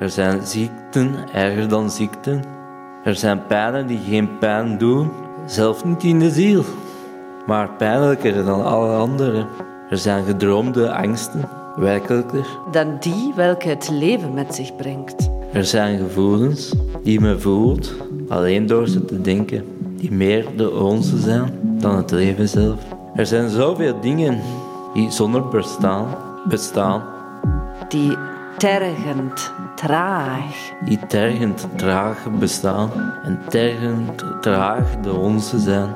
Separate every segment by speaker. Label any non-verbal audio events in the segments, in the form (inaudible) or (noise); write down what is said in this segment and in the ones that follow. Speaker 1: Er zijn ziekten erger dan ziekten. Er zijn pijlen die geen pijn doen, zelf niet in de ziel, maar pijnlijker dan alle andere. Er zijn gedroomde angsten, werkelijker.
Speaker 2: dan die welke het leven met zich brengt.
Speaker 1: Er zijn gevoelens die men voelt alleen door ze te denken, die meer de onze zijn dan het leven zelf. Er zijn zoveel dingen die zonder bestaan, bestaan
Speaker 2: Die tergend, traag,
Speaker 1: die tergend traag bestaan en tergend traag de onze zijn,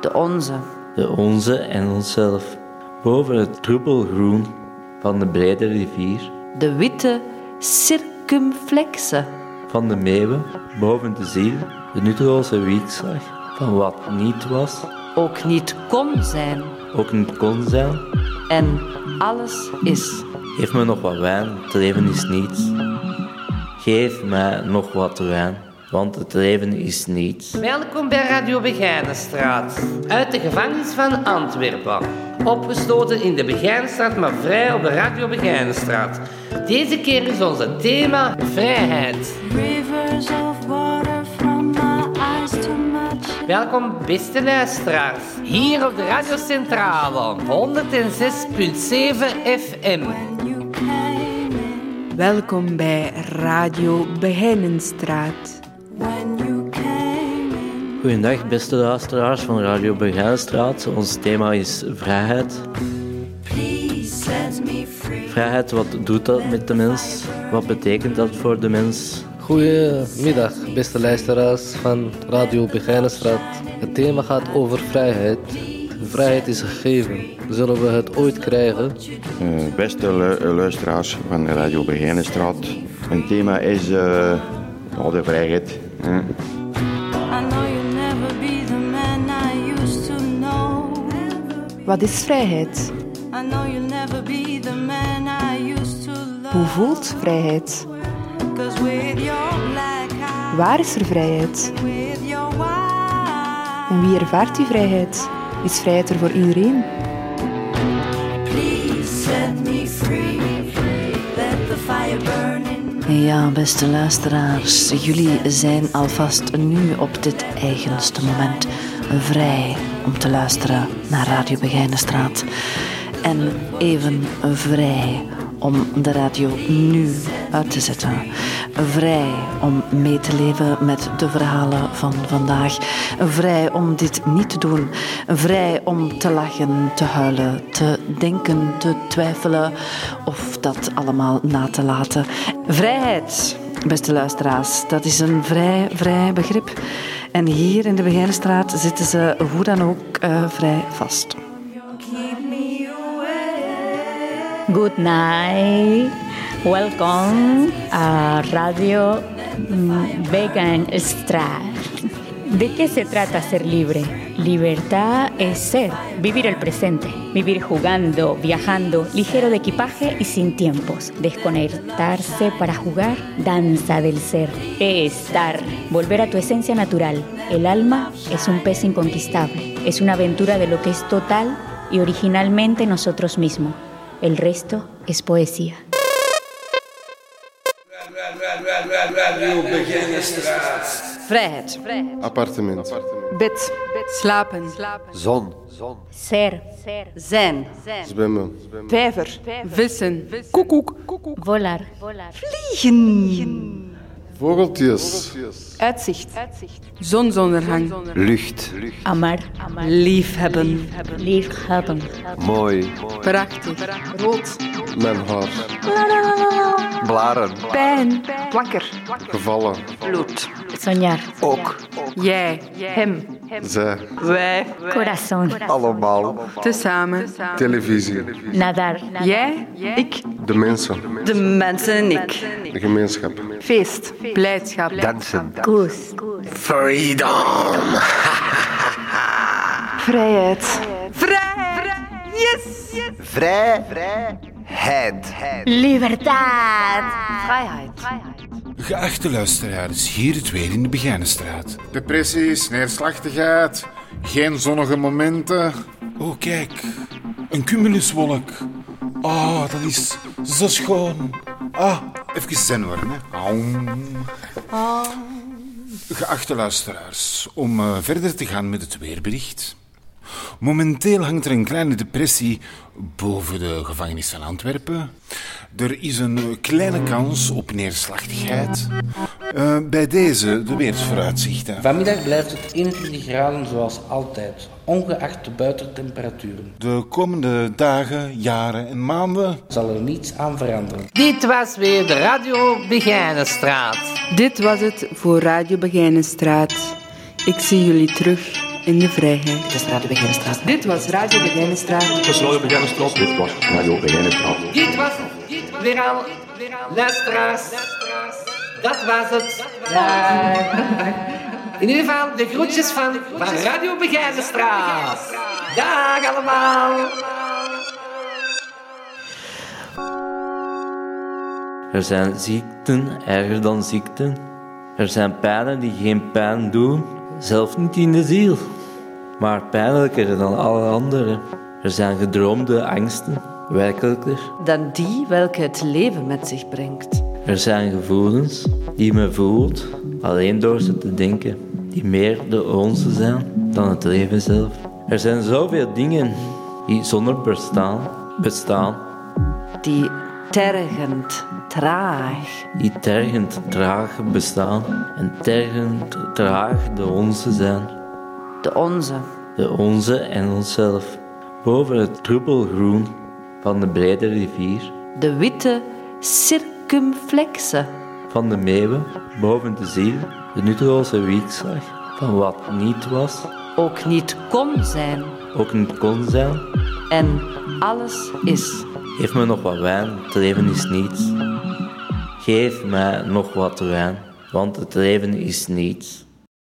Speaker 2: de onze.
Speaker 1: de onze en onszelf, boven het troebelgroen van de brede rivier,
Speaker 2: De witte circumflexe.
Speaker 1: van de meeuwen, boven de ziel, de nutteloze wiekslag van wat niet was,
Speaker 2: Ook niet kon zijn.
Speaker 1: ook niet kon zijn,
Speaker 2: En alles is.
Speaker 1: Geef me nog wat wijn, het leven is niets. Geef mij nog wat wijn, want het leven is niets.
Speaker 3: Welkom bij Radio Begijnenstraat, uit de gevangenis van Antwerpen. Opgesloten in de Begijnenstraat, maar vrij op de Radio Begijnenstraat. Deze keer is ons het thema vrijheid.
Speaker 4: Rivers of water from my eyes to my chin.
Speaker 3: Welkom beste luisteraars, hier op de Radio Centrale, 106.7 FM.
Speaker 4: When you came in,
Speaker 5: Welkom bij Radio Begijnenstraat.
Speaker 4: when you came in,
Speaker 1: Goedendag, beste luisteraars van Radio Begijnstraat. Ons thema is vrijheid.
Speaker 4: please set me free.
Speaker 1: Vrijheid, wat doet dat met de mens? Wat betekent dat voor de mens?
Speaker 6: Goedemiddag, beste luisteraars van Radio Begijnenstraat. Het thema gaat over vrijheid. Vrijheid is gegeven. Zullen we het ooit krijgen?
Speaker 7: Eh, beste lu- luisteraars van Radio Begijnenstraat. Mijn thema is eh, ja, de vrijheid. hè.
Speaker 4: I know you'll never be the man I used to know.
Speaker 5: Wat is vrijheid?
Speaker 4: I know you'll never be the man I used to
Speaker 5: Hoe
Speaker 4: love.
Speaker 5: voelt vrijheid?
Speaker 4: 'Cause with your black eyes,
Speaker 5: Waar is er vrijheid?
Speaker 4: with your white,
Speaker 5: En wie ervaart die vrijheid? Is vrijheid er voor iedereen?
Speaker 4: please set me free. Let the fire burn in
Speaker 2: Ja, beste luisteraars, jullie zijn alvast nu op dit eigenste moment vrij om te luisteren naar Radio Begijnenstraat. En even vrij om de radio nu uit te zetten. Vrij om mee te leven met de verhalen van vandaag. Vrij om dit niet te doen. Vrij om te lachen, te huilen, te denken, te twijfelen of dat allemaal na te laten. Vrijheid, beste luisteraars, dat is een vrij, vrij begrip. En hier in de Begijnenstraat zitten ze hoe dan ook eh, vrij vast.
Speaker 8: Good night. Welcome a Radio mm, Vegan Star. ¿De qué se trata ser libre? Libertad es ser, vivir el presente, vivir jugando, viajando, ligero de equipaje y sin tiempos, desconectarse para jugar, danza del ser, estar, volver a tu esencia natural. El alma es un pez inconquistable, es una aventura de lo que es total y originalmente nosotros mismos. El resto es poesía.
Speaker 2: Vrijheid.
Speaker 9: Appartement.
Speaker 5: Bed. Slapen.
Speaker 10: Zon.
Speaker 8: Ser,
Speaker 2: Zijn.
Speaker 9: Zwemmen.
Speaker 5: Vijver. Vissen. Koekoek.
Speaker 8: volar,
Speaker 9: Vogeltjes.
Speaker 5: Uitzicht. Zonsondergang.
Speaker 10: Lucht.
Speaker 8: amar,
Speaker 2: Liefhebben.
Speaker 8: liefhebben,
Speaker 10: Mooi.
Speaker 5: Prachtig. Rood.
Speaker 9: Mijn haar.
Speaker 10: Blaren.
Speaker 5: Pijn. Plakker.
Speaker 9: Gevallen.
Speaker 8: soñar,
Speaker 10: Ook.
Speaker 5: Jij. Hem.
Speaker 9: Zij.
Speaker 5: Wij.
Speaker 8: corazón,
Speaker 10: Allemaal.
Speaker 5: Tezamen.
Speaker 9: Televisie.
Speaker 8: nadar,
Speaker 5: Jij. Ik.
Speaker 9: De mensen.
Speaker 2: De mensen en ik.
Speaker 9: De gemeenschap.
Speaker 5: Feest. Blijdschap.
Speaker 10: Dansen.
Speaker 8: cus,
Speaker 5: (laughs) Vrijheid. Vrijheid. Yes.
Speaker 10: Vrij. Vrijheid.
Speaker 8: libertad.
Speaker 11: Geachte luisteraars, hier het weer in de Begijnenstraat.
Speaker 9: Depressies, neerslachtigheid. Geen zonnige momenten.
Speaker 11: Oh, kijk, een cumuluswolk. Ah, dat is zo schoon. Ah, Even zen worden, hè. Aum. Geachte luisteraars, om eh, verder te gaan met het weerbericht. Momenteel hangt er een kleine depressie boven de gevangenis van Antwerpen. Er is een eh, kleine kans op neerslachtigheid. Eh, bij deze de weersvooruitzichten.
Speaker 3: Vanmiddag blijft het 21 graden zoals altijd, ongeacht de buitentemperaturen.
Speaker 11: De komende dagen, jaren en maanden
Speaker 3: zal er niets aan veranderen. Dit was weer de Radio Begijnenstraat.
Speaker 5: Dit was het voor Radio Begijnenstraat. Ik zie jullie terug in de vrijheid. Dit was Radio Begijnenstraat. Dit was Radio Begijnenstraat.
Speaker 7: was Radio Begijnenstraat. Dit was Radio Begijnenstraat.
Speaker 3: Dit was het. Dit was weer al. Luisteraars. Dat was het. In ieder geval de groetjes van, van Radio Begijnenstraat. Dag allemaal.
Speaker 1: Er zijn ziekten erger dan ziekten. Er zijn pijlen die geen pijn doen, zelf niet in de ziel, maar pijnlijker dan alle anderen. Er zijn gedroomde angsten, werkelijker.
Speaker 2: dan die welke het leven met zich brengt.
Speaker 1: Er zijn gevoelens die men voelt alleen door ze te denken, die meer de onze zijn dan het leven zelf. Er zijn zoveel dingen die zonder bestaan, bestaan
Speaker 2: Die tergend, traag,
Speaker 1: die tergend traag bestaan en tergend traag de onze zijn.
Speaker 2: De onze.
Speaker 1: De onze en onszelf. Boven het troebelgroen van de brede rivier,
Speaker 2: de witte circumflexe.
Speaker 1: van de meeuwen, boven de ziel, de nutteloze wiekslag van wat niet was,
Speaker 2: Ook niet kon zijn.
Speaker 1: ook niet kon zijn,
Speaker 2: En alles is.
Speaker 1: Geef me nog wat wijn, het leven is niets. Geef mij nog wat wijn, want het leven is niets.